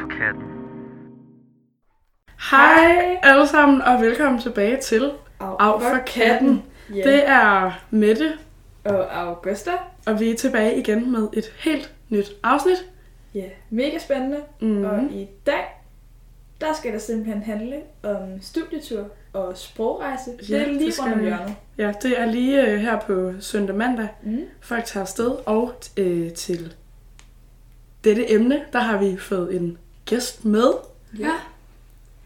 for katten. Hej alle sammen, og velkommen tilbage til Af for katten. Ja. Det er Mette, Og Augusta. og vi er tilbage igen med et helt nyt afsnit. Ja, mega spændende. Mm. Mm. Og i dag, der skal der simpelthen handle om studietur og sprogrejse. Ja, det Ja, er lige det skal rundt om vi. hjørnet. Ja, det er lige øh, her på søndag mandag. Mm. Folk tager afsted, og øh, til dette emne, der har vi fået en gæst med. Ja,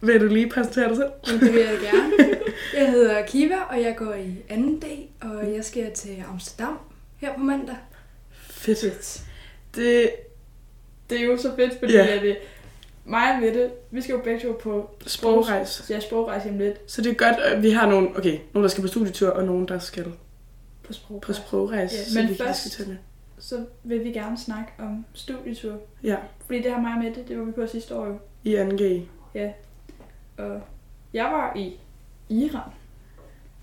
Vil du lige præsentere dig selv? men det vil jeg gerne. Jeg hedder Kiva, og jeg går i 2. D, og jeg skal til Amsterdam her på mandag. Fedt. Fedt. Det Det er jo så fedt, fordi Ja. yeah. at, øh, mig og Mette, vi skal jo begge to på er sprogrejse. ja, sprogrejse om lidt Så det er godt, at vi har nogen, okay, nogen, der skal på studietur, og nogen, der skal på på sprogrejse. sprogrejse, Ja, så men vi kan først- diskutere det. Så vil vi gerne snakke om studietur. Ja, Fordi det har mig og Mette, det var vi på sidste år jo. i 2G. Og jeg var i Iran.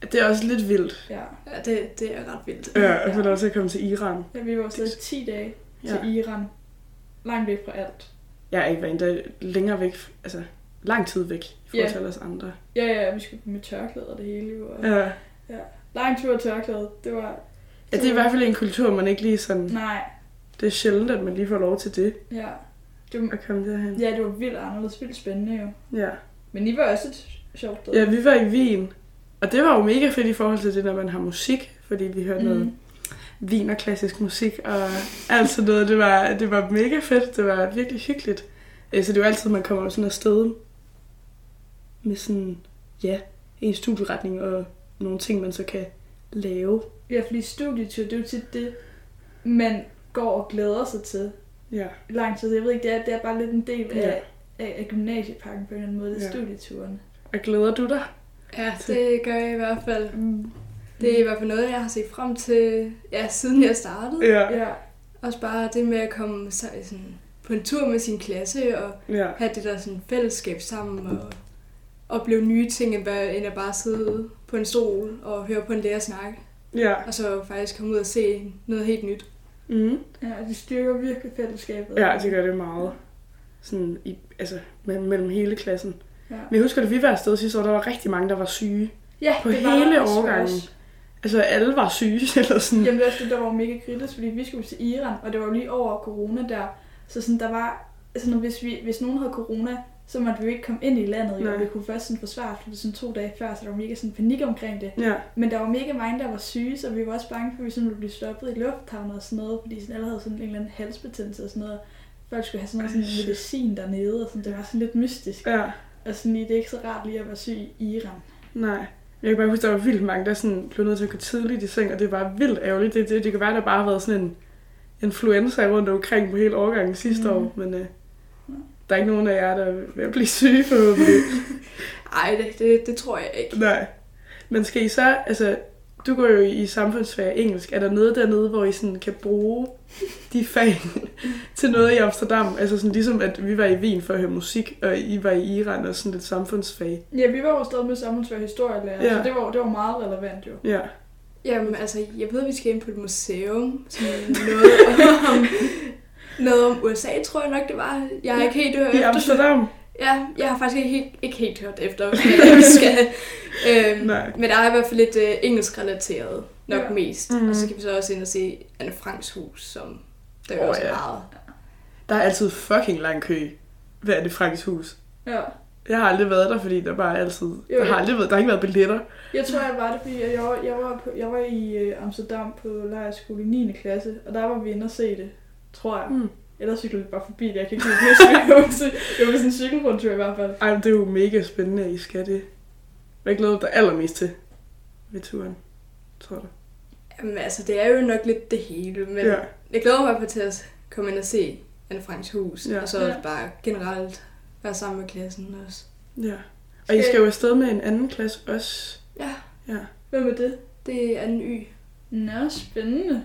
Det er også lidt vildt. Ja, Ja, det, det er ret vildt. Ja, og så er der også at komme til Iran. ja vi var afsted 10 dage Ja. til Iran. Langt væk fra alt. Jeg er ikke været endda længere væk, altså lang tid væk i forhold Ja. til alle os andre. Ja, ja, vi skulle med tørklæde og det hele. Jo. Og Ja. Lang tur og tørklæde, det var... ja, det er i hvert fald en kultur, man ikke lige sådan... Nej, Det er sjældent, at man lige får lov til det, ja. Det var, at komme derhen. ja, det var vildt anderledes, vildt spændende jo. Ja. Men I var også et sjovt sted. ja, vi var i Wien, og det var jo mega fedt i forhold til det, når man har musik, fordi vi hørte mm. noget Mm. vin og klassisk musik og alt sådan noget. Det var, det var mega fedt, det var virkelig hyggeligt. Øh, Så det er jo altid, man kommer jo sådan afsted med sådan, ja, en studieretning og nogle ting, man så kan lave. Ja, fordi studietur, det er jo tit det, man går og glæder sig til Ja, i lang tid. Jeg ved ikke, det er, det er bare lidt en del Ja. af, af, af gymnasiepakken på en eller anden måde, det er Ja. studieturen. og glæder du dig? Ja, det gør jeg i hvert fald. Mm. Det er i hvert fald noget, jeg har set frem til, ja, siden jeg startede. Ja, Ja, Også bare det med at komme så- sådan, på en tur med sin klasse, og ja, have det der sådan, fællesskab sammen, og opleve nye ting, end bare- end at bare sidde på en stol og høre på en lærer snakke. ja. Og så faktisk komme ud og se noget helt nyt. Mm. ja og det styrker virkelig fællesskabet. Ja, det gør det meget. Sådan i, altså, me- mellem hele klassen. Ja. Men jeg husker, at vi var afsted sidste år, der var rigtig mange, der var syge. ja, på det var der hele også for årgangen. os. Altså, alle var syge, eller sådan. Mm. Jamen det er også det, der var mega kritisk, fordi vi skulle til Iran, og det var jo lige over corona der. Så sådan, der var, altså, når, hvis, vi, hvis nogen havde corona, så måtte vi jo ikke komme ind i landet, jo. Nej. og vi kunne først sådan forsvare det sådan to dage før, så der var mega sådan panik omkring det. Ja, Men der var mega mange, der var syge, så vi var også bange for, at vi sådan ville blive stoppet i lufthavnen og sådan noget, fordi sådan alle havde sådan en eller anden halsbetændelse og sådan noget. Folk skulle have sådan noget Ej, sådan shit. medicin dernede, og sådan, det var sådan lidt mystisk. ja, Og sådan lige, det er ikke så rart lige at være syg i Iran. nej. Jeg kan bare huske, der var vildt mange, der sådan blev nødt til at gå tidligt i seng, og det var vildt ærgerligt. Det, det, det kan være, der bare har været sådan en influenza rundt omkring på hele årgangen sidste Mm. år, men øh, der er ikke nogen af jer, der er ved at blive syge forhåbentlig. Ej, det, det, det tror jeg ikke. Nej. Men skal I så, altså, du går jo i samfundsfag og engelsk. Er der noget dernede, hvor I sådan kan bruge de fag til noget i Amsterdam? Altså sådan ligesom, at vi var i Wien for at høre musik, og I var i Iran og sådan lidt samfundsfag. Ja, vi var jo stadig med samfundsfag historielærer, Ja. så det var, det var meget relevant jo. Ja. Jamen, altså, jeg ved, at vi skal ind på et museum, som noget om, noget om USA, tror jeg nok, det var. Jeg har ikke helt hørt I efter. Amsterdam? Ja, jeg har faktisk ikke helt, ikke helt hørt efter, hvad vi skal. øhm, Nej. men der er i hvert fald lidt øh, engelsk relateret nok Ja. ja. mest. Mhm. Mm. Og så kan vi så også ind og se Anne Franks hus, som der Åh, oh, også ja. ja. meget. Der er altid fucking lang kø. Hvad er det, Franks hus? Ja. Jeg har aldrig været der, fordi der bare er altid... Jo, Jeg har ja. aldrig været, der har ikke været billetter. Jeg tror, jeg var det, fordi jeg var, jeg var, på, jeg var i øh, Amsterdam på lejerskole i 9. klasse, og der var vi inde og se det, tror jeg. Mm. Ellers cyklede vi bare forbi det, jeg kan ikke lige huske. Jeg var sådan- jeg var på sådan en cykelrundtur i hvert fald. Ej, men det er jo mega spændende, at I skal det. Hvad glæder du dig allermest til ved turen? Tror du? Jamen, altså, det er jo nok lidt det hele, men ja. jeg glæder mig i hvert fald til at komme ind og se Anne Franks hus. Ja. Ja. Og så også Ja. bare generelt være sammen med klassen også. Ja. Og I skal jo afsted med en anden klasse også. Ja, Ja. Hvem er det? det er en y. Nå, spændende.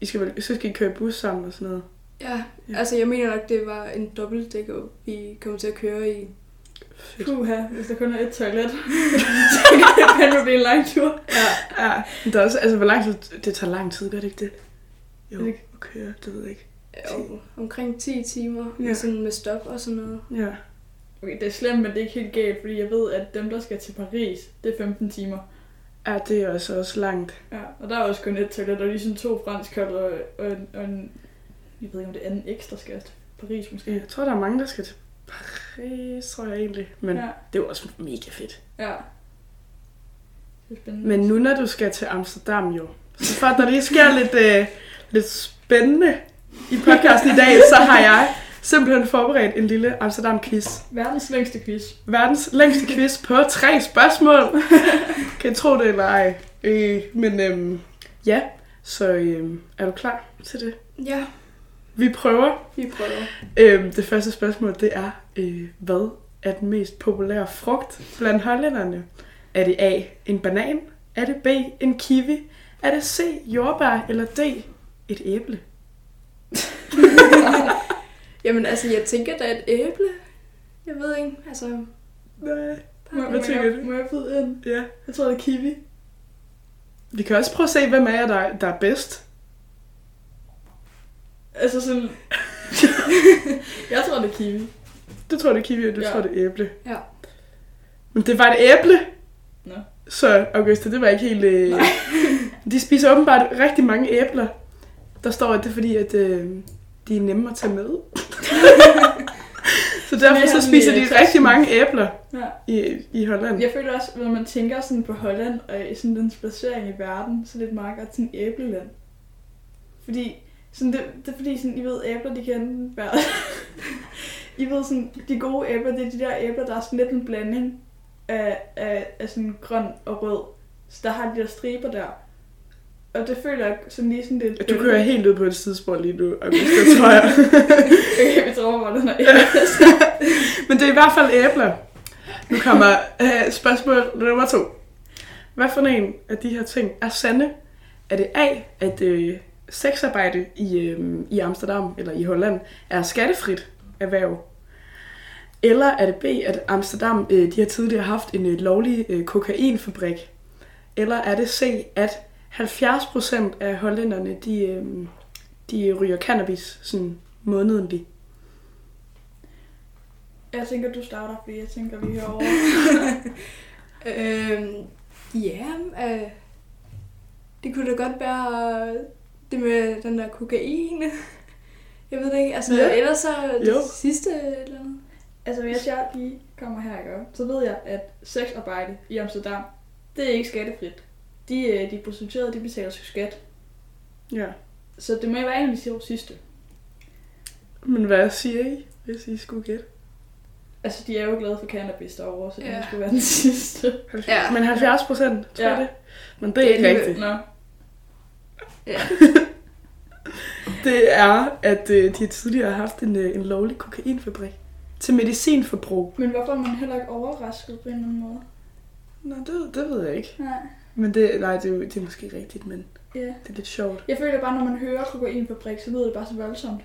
I skal vel, så skal I køre i bus sammen og sådan noget. Ja, Ja. ja, altså jeg mener nok, det var en dobbeltdækker, vi kom til at køre i. Fedt. Puha, hvis der kun er et toilet, så kan det fandme blive en lang tur. Ja. Men der er også, altså, hvor lang tid, det tager lang tid, gør det ikke det? Jo, Det- at køre, det ved jeg ikke. jo, øh, omkring 10 timer Ja. ja. sådan med stop og sådan noget. Ja. Okay, det er slemt, men det er ikke helt galt, fordi jeg ved, at dem, der skal til Paris, det er 15 timer. Ja, det er også, også langt. Ja, og der er også kun et toilet, og lige sådan to franskhold og, og, en, og en, jeg ved ikke, om det er anden ekstra skal til Paris måske. Jeg tror, der er mange, der skal til Paris, tror jeg egentlig. Men ja. Ja, det er jo også mega fedt. ja. Det er spændende. Men nu, når du skal til Amsterdam jo, så for at der lige sker lidt, øh, lidt spændende i podcasten i dag, så har jeg simpelthen forberedt en lille Amsterdam-quiz. Verdens længste quiz. verdens længste quiz på tre spørgsmål. kan I tro det eller ej? Øh, men øhm, ja, så øhm, er du klar til det? Ja, Vi prøver. vi prøver. Øhm, det første spørgsmål, det er, øh, hvad er den mest populære frugt blandt hollænderne? Er det A, en banan? Er det B, en kiwi? Er det C, jordbær? Eller D, et æble? Jamen altså, jeg tænker, der er et æble. Jeg ved ikke, altså... Nej. Må, Hvad må tænker jeg, du? Må jeg byde ind? Ja. Jeg tror, det er kiwi. Vi kan også prøve at se, hvem af jer, der, der er bedst. Altså sådan... jeg tror, det er kiwi. Du tror, det er kiwi, og du ja. Ja. tror, det er æble. Ja. Men det var et æble. Nå. Så Augusta, det var ikke helt... Øh... De spiser åbenbart rigtig mange æbler. Der står, at det er fordi, at øh, de er nemme at tage med. så derfor Mere så end spiser i, øh, de rigtig mange æbler Ja. i, i Holland. Jeg føler også, når man tænker sådan på Holland og i sådan den placering i verden, så er det et meget godt sådan æbleland. Fordi, sådan det, det er fordi, sådan, I ved, æbler, de kan enten være... I ved sådan, de gode æbler, det er de der æbler, der er sådan lidt en blanding af, af, af sådan grøn og rød. Så der har de der striber der. Og det føler jeg sådan lige sådan lidt... Du kører helt ud på et sidespor lige nu, Augusta, tror jeg. Okay, vi tror bare, den er Men det er i hvert fald æbler. Nu kommer øh, spørgsmål nummer to. Hvad for en af de her ting er sande? Er det A, at øh, sexarbejde i, øh, i Amsterdam eller i Holland er skattefrit erhverv? Eller er det B, at Amsterdam øh, de har tidligere haft en øh, lovlig øh, kokainfabrik? Eller er det C, at 70% af hollænderne de, øh, de ryger cannabis sådan månedligt? Jeg tænker, du starter, fordi jeg tænker, vi er herovre. Øhm, ja, øh, det kunne da godt være øh, det med den der kokain. Jeg ved det ikke, altså Ja. ja. ellers så det Jo. sidste eller noget. Altså, hvis jeg lige kommer her, ikke? også, så ved jeg, at sexarbejde i Amsterdam, det er ikke skattefrit. De, øh, de prostituerede, de betaler sgu skat. Ja. Så det må jo være en af de sjove sidste. Men hvad siger I, hvis I skulle gætte? Altså, de er jo glade for cannabis derovre, så det Ja. skulle være den sidste. 70. Ja. Men 70 procent, tror jeg Ja. det. Men det er ikke alligevel- rigtigt. Nå, Det er, at øh, de tidligere har haft en, øh, en lovlig kokainfabrik til medicinforbrug. men hvorfor er man heller ikke overrasket på en eller anden måde? Nå, det, det ved jeg ikke. Nej. Men det, nej, det, er jo- det er måske rigtigt, men Ja. det er lidt sjovt. Jeg føler bare, når man hører kokainfabrik, så lyder det bare så voldsomt.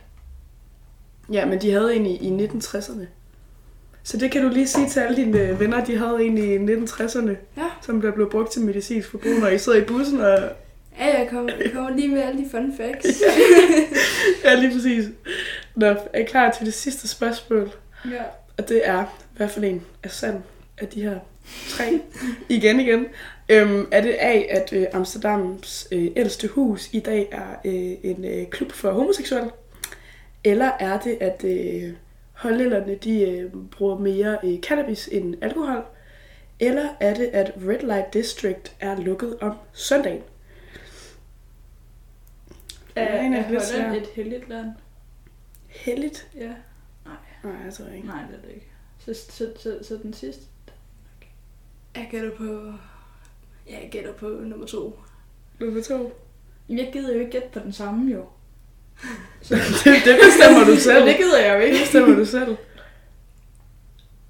Ja, men de havde en i, i 1960'erne. Så det kan du lige sige til alle dine øh, venner, de havde en i 1960'erne, Ja. som der blev brugt til medicinsk forbrug, når I sidder i bussen og... Ja, jeg kommer, jeg kommer lige med alle de fun facts. Ja, lige præcis. Nå, er I klar til det sidste spørgsmål? Ja. Og det er, hvad for en er sand af de her tre? igen, igen. Øhm, er det A, at øh, Amsterdams øh, ældste hus i dag er øh, en øh, klub for homoseksuelle? Eller er det, at øh, hollænderne de, øh, bruger mere øh, cannabis end alkohol? Eller er det, at Red Light District er lukket om søndagen? Er, Ja, en af er de lidt Holland svære. et heldigt land? Helligt? Ja. Nej, jeg tror ikke. Nej, det er det ikke. Så, så, så, så den sidste? Jeg gætter på... Ja, jeg gætter på nummer to. Nummer to. Jamen, Jeg gider jo ikke gætte på den samme, jo. Så, det, det bestemmer du selv. det gider jeg jo Det ikke. bestemmer du selv.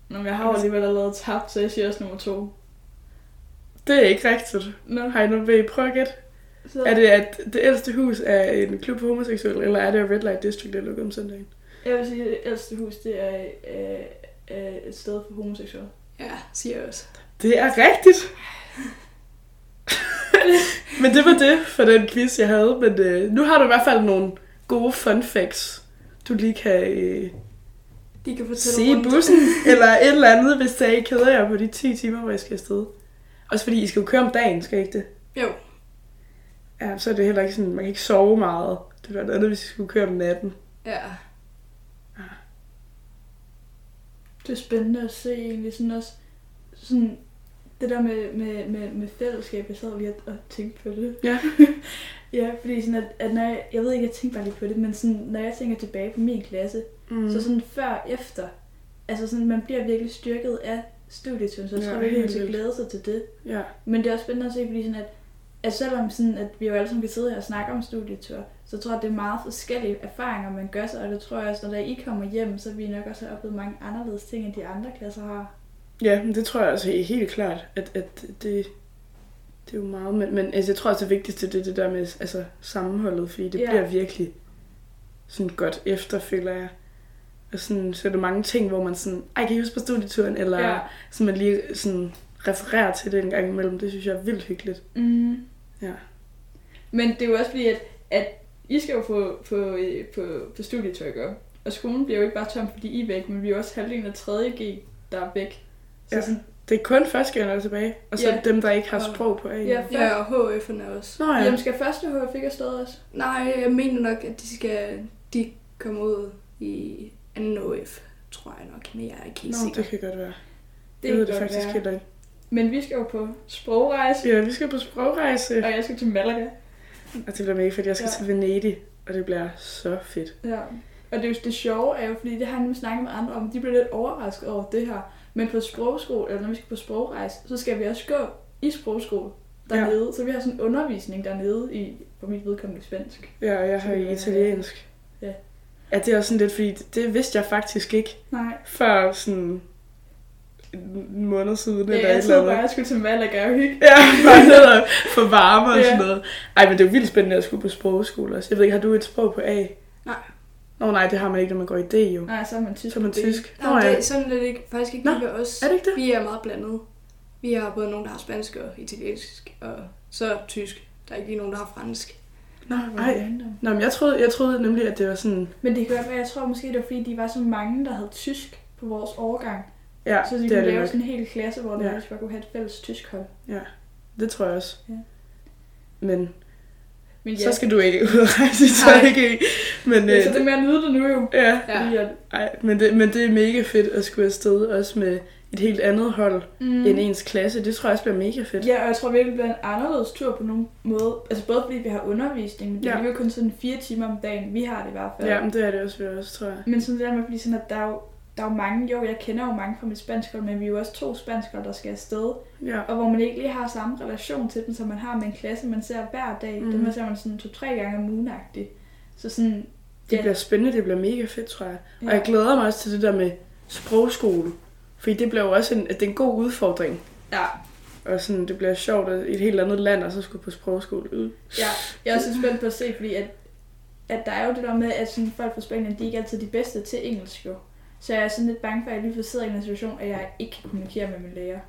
Nå, men jeg har jo alligevel allerede tabt, så jeg siger også nummer to. Det er ikke rigtigt. Nå, Hej, nu vil I prøve at gætte. så, Er det, at det ældste hus er en klub for homoseksuelle, eller er det at Red Light District, der er lukket om søndagen? Jeg vil sige, at det ældste hus, det er øh, øh, et sted for homoseksuelle. Ja, siger jeg også. Det er rigtigt! men det var det for den quiz, jeg havde, men øh, nu har du i hvert fald nogle gode fun facts, du lige kan øh, De kan fortælle se i rundt. bussen, eller et eller andet, hvis jeg ikke keder jer på de 10 timer, hvor jeg skal afsted. Også fordi I skal jo køre om dagen, skal I ikke det? Jo. Ja, så er det heller ikke sådan, man kan ikke sove meget. Det var noget andet, hvis I skulle køre om natten. Ja. Det er spændende at se egentlig sådan også, sådan det der med, med, med, med fællesskab, jeg sad lige og- og tænkte på det. Ja. ja, fordi sådan at, at når jeg, jeg ved ikke, jeg tænkte bare lige på det, men sådan, når jeg tænker tilbage på min klasse, Mm. Så sådan før og efter. Altså sådan, man bliver virkelig styrket af studiet, synes jeg. Jeg Ja, tror virkelig, man helt skal vildt. glæde sig til det. Ja. Men det er også spændende at se, fordi sådan at, at selvom sådan, at vi jo alle sammen kan sidde her og snakke om studietur, så tror jeg, at det er meget forskellige erfaringer, man gør sig. Og det tror jeg også, når da I kommer hjem, så vil I nok også have oplevet mange anderledes ting, end de andre klasser har. Ja, men det tror jeg altså helt klart, at, at det, det er jo meget, men, men altså, jeg tror også det vigtigste, det er det der med altså, sammenholdet, fordi det Ja. ja. bliver virkelig sådan godt efter, føler jeg. Og sådan, så er der mange ting, hvor man sådan, ej, kan I huske på studieturen, eller ja. sådan, man lige sådan refererer til det en gang imellem, det synes jeg er vildt hyggeligt. Mm. Ja. Men det er jo også fordi, at, at I skal jo på, på, øh, på, på studietur, ikke? Og skolen bliver jo ikke bare tom, fordi I er væk, men vi er jo også halvdelen af 3.G, der er væk. Så Ja. ja. sådan, Det er kun første gang, der er tilbage, og så Ja. ja. dem, der ikke har Og- sprog på A. ja, først, Ja, og HF'erne også. Nå ja. Jamen, skal første HF ikke afsted også? Nej, jeg mener nok, at de skal de kommer ud i anden HF, tror jeg nok, men jeg er ikke helt Nå, sikker. det kan godt være. Det jeg ved det kan godt faktisk være. heller ikke. Men vi skal jo på sprogrejse, Ja, vi skal på sprogrejse, og jeg skal til Malaga. og det bliver mega fedt. Jeg skal Ja. til Venedig, og det bliver så fedt. Ja. Og det, er jo, det sjove er jo, fordi det har jeg nemlig snakket med andre om, de bliver lidt overrasket over det her. Men på sprogskole, eller når vi skal på sprogrejse, så skal vi også gå i sprogskole dernede. Ja. Så vi har sådan en undervisning dernede i, på mit vedkommende svensk. Ja, og jeg Så har det i var- italiensk. ja. Ja, det er også sådan lidt, fordi det- det vidste jeg faktisk ikke Nej. før sådan en måned siden Ja, eller et jeg eller troede bare, andet. jeg skulle til Malaga og hygge. Ja, bare ned og få varme og Ja. sådan noget. Ej, men det er jo vildt spændende at skulle på sprogskole også. Jeg ved ikke, har du et sprog på A? Nej. Nå nej, det har man ikke, når man går i D jo. Nej, så er man tysk. Så er man på det. tysk. Nej, Nå ja, det er sådan lidt ikke, faktisk ikke Nå, lige ved os. er det ikke det? Vi er meget blandet. Vi har både nogen, der har spansk og italiensk, og så tysk. Der er ikke lige nogen, der har fransk. Nå, Hvor ej. random. Nå, men jeg troede, jeg troede nemlig, at det var sådan... Men det kan godt være, jeg tror måske, det var fordi, de var så mange, der havde tysk på vores årgang. Ja, Så de det er kunne det lave nok. sådan en hel klasse, hvor Ja. ja. bare kunne have et fælles tysk hold. Det tror jeg også. Ja. Men Men ja, så skal du ikke ud og rejse i Nej. 3G. Men, ja, så øh, det er med at nyde det nu jo. ja. Ja. Fordi at- Ej, men det, men det er mega fedt at skulle afsted, også med et helt andet hold mm. end ens klasse. Det tror jeg også bliver mega fedt. Ja, og jeg tror virkelig, det bliver en anderledes tur på nogen måde. Altså både fordi vi har undervisning, men det er Ja. alligevel kun sådan fire timer om dagen. Vi har det i hvert fald. Ja, men det er det også, ved os, tror jeg. Men sådan det der med, fordi sådan, at der er jo, der er jo mange, jo jeg kender jo mange fra mit spansk hold, men vi er jo også to spanskere, der skal afsted. Ja. Og hvor man ikke lige har samme relation til dem, som man har med en klasse, man ser hver dag. Mm. Mhm. Dem man ser man sådan to-tre gange om ugen -agtigt. Så sådan, Det Ja. bliver spændende, det bliver mega fedt, tror jeg. ja. Og jeg glæder mig også til det der med sprogskole. Fordi det bliver jo også en, det er en god udfordring. ja. Og sådan, det bliver sjovt at i et helt andet land, og så skulle på sprogskole ud. Ja, jeg er også lidt spændt på at se, fordi at, at der er jo det der med, at sådan folk fra Spanien, de er ikke altid de bedste til engelsk jo. Så jeg er sådan lidt bange for, at jeg lige pludselig sidder i en situation, at jeg ikke kan kommunikere med min lærer.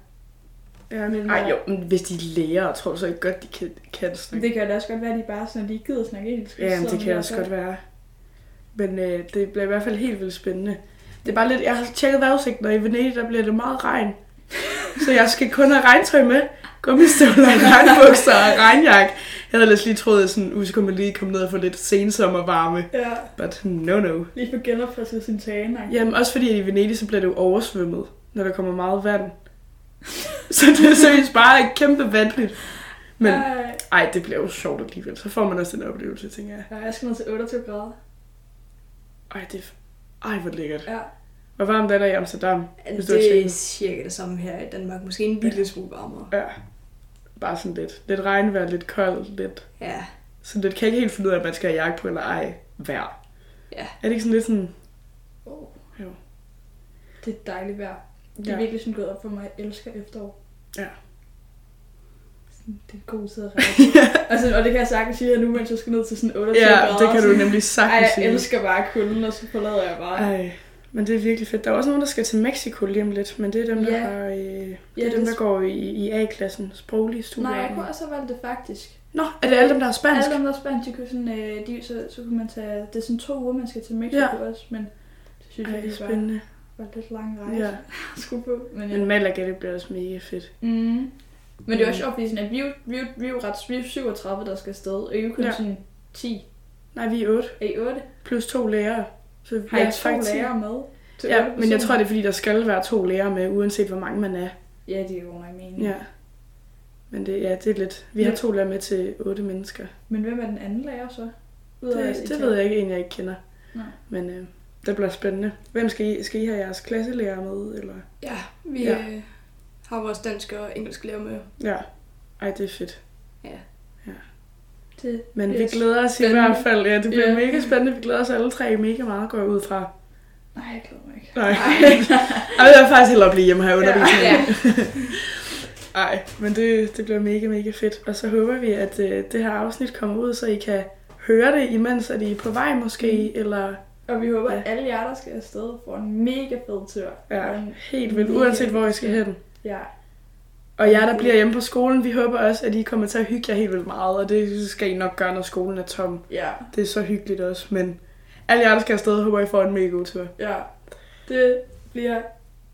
Ja, men- øh, Ej, jo, men hvis de er lærer, tror du så ikke godt, de kan, kan snakke? Det kan da også godt være, at de bare sådan, at de ikke gider snakke engelsk. Ja, men Så det kan jeg også bare- godt være. Men øh, det bliver i hvert fald helt vildt spændende. Det er bare lidt, jeg har tjekket vejrudsigten, og i Venedig, der bliver det meget regn. Så jeg skal kun have regntøj med, gummistøvler, regnbukser og regnjakke. Jeg havde ellers lige troet, at sådan, uh, så kunne man lige komme ned og få lidt sensommervarme. Ja, But no no. lige få genopfrisket sin tane. Ja. Jamen også fordi at i Venedig, så bliver det jo oversvømmet, når der kommer meget vand. Så det er seriøst bare kæmpe vandligt. Men Ej, ej, det bliver jo sjovt alligevel. Så får man også den oplevelse, tænker jeg. jeg skal ned til 28 grader. Ej, det er... Ej, hvor lækkert. Ja. Hvor varmt er der i Amsterdam? Hvis du har Det er tjekket. cirka det samme her i Danmark. Måske en lille smule varmere. Ja. Bare sådan lidt. Lidt regnvejr, lidt koldt, lidt... Ja, Sådan lidt kan ikke helt finde ud af, om man skal have jakke på eller ej. Vejr. Ja. Er det ikke sådan lidt sådan... Oh. Jo. Det er et dejligt vejr. Det er Ja. virkelig sådan gået op for mig. Jeg elsker efterår. Ja. Sådan, Det er en god tid at rejse. altså, og det kan jeg sagtens sige her nu, mens jeg skal ned til sådan 28 Ja, grader. det kan du Sådan, nemlig Ej, sagtens jeg sige. elsker bare kulden, og så forlader jeg bare. Ej, men det er virkelig fedt. Der er også nogen, der skal til Mexico lige om lidt, men det er dem, der, Ja. har, øh, det Ja, er dem, det- der går i, i A-klassen, sproglige studier. Nej, jeg kunne også have valgt det faktisk. Nå, er det alle dem, der har spansk? Alle dem, der er spansk, de kunne sådan, øh, de, så, så kunne man tage, det er sådan to uger, man skal til Mexico ja. også, men det synes jeg, Ej, det var, spændende. var lidt lang rejse Ja. ja. at skulle på. Men, ja. Men Malaga, det bliver også mega fedt. Mm. Men det er også sjovt, fordi sådan, at vi, er jo- vi, er jo- vi er jo ret, vi er jo 37, der skal afsted, og I er jo kun Ja. ja. sådan 10, Nej, vi er otte. er I 8? Plus to lærere. Så Har I ja, to faktisk- lærere med? til Ja, otte men jeg personer? tror, det er fordi, der skal være to lærere med, uanset hvor mange man er. Ja, det er jo nok meningen. Ja. Men det, Mm. ja, det er lidt... Vi har Ja. to lærere med til otte mennesker. Men hvem er den anden lærer så? Ud af Det, det Italien? ved jeg ikke, en jeg ikke kender. Nej. Men øh, det bliver spændende. Hvem skal I, skal I have jeres klasselærer med? Eller? Ja, vi Ja. ja. Øh, har vores dansk og engelsk lærer med. Ja. Ej, det er fedt. Det Men bliver vi glæder os i spændende. hvert fald. Ja, det bliver Ja. mega spændende. Vi glæder os alle tre mega meget, går jeg ud fra. Nej, jeg glæder mig ikke. Nej. Ej, jeg vil faktisk hellere blive hjemme her under Ja. Nej, men det, det bliver mega, mega fedt. Og så håber vi, at øh, det her afsnit kommer ud, så I kan høre det, imens at I er på vej måske, mm. eller Og vi håber, Ja. at alle jer, der skal afsted, får en mega fed tur. Og ja, en- helt vildt, Mega uanset hvor I skal hen. Ja. Og jer, der bliver hjemme på skolen, vi håber også, at I kommer til at hygge jer helt vildt meget, og det skal I nok gøre, når skolen er tom. Ja. Det er så hyggeligt også, men alle jer, der skal afsted, håber I får en mega god tur. Ja. Det bliver...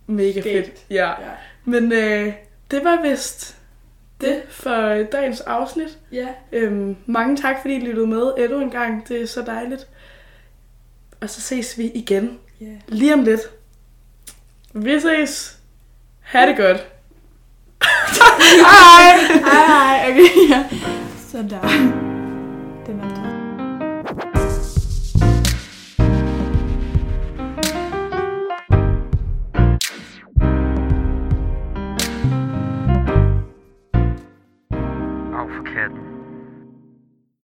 Mega Skægt. fedt. Ja. Ja. Men øh, det var vist det for øh, dagens afsnit. Ja. Øhm, mange tak, fordi I lyttede med endnu en gang. Det er så dejligt. Og så ses vi igen ja. lige om lidt. Vi ses. Ha' det godt. Hej. Hej, hej. Okay, ja. Så der. Den er der. Auf Ketten.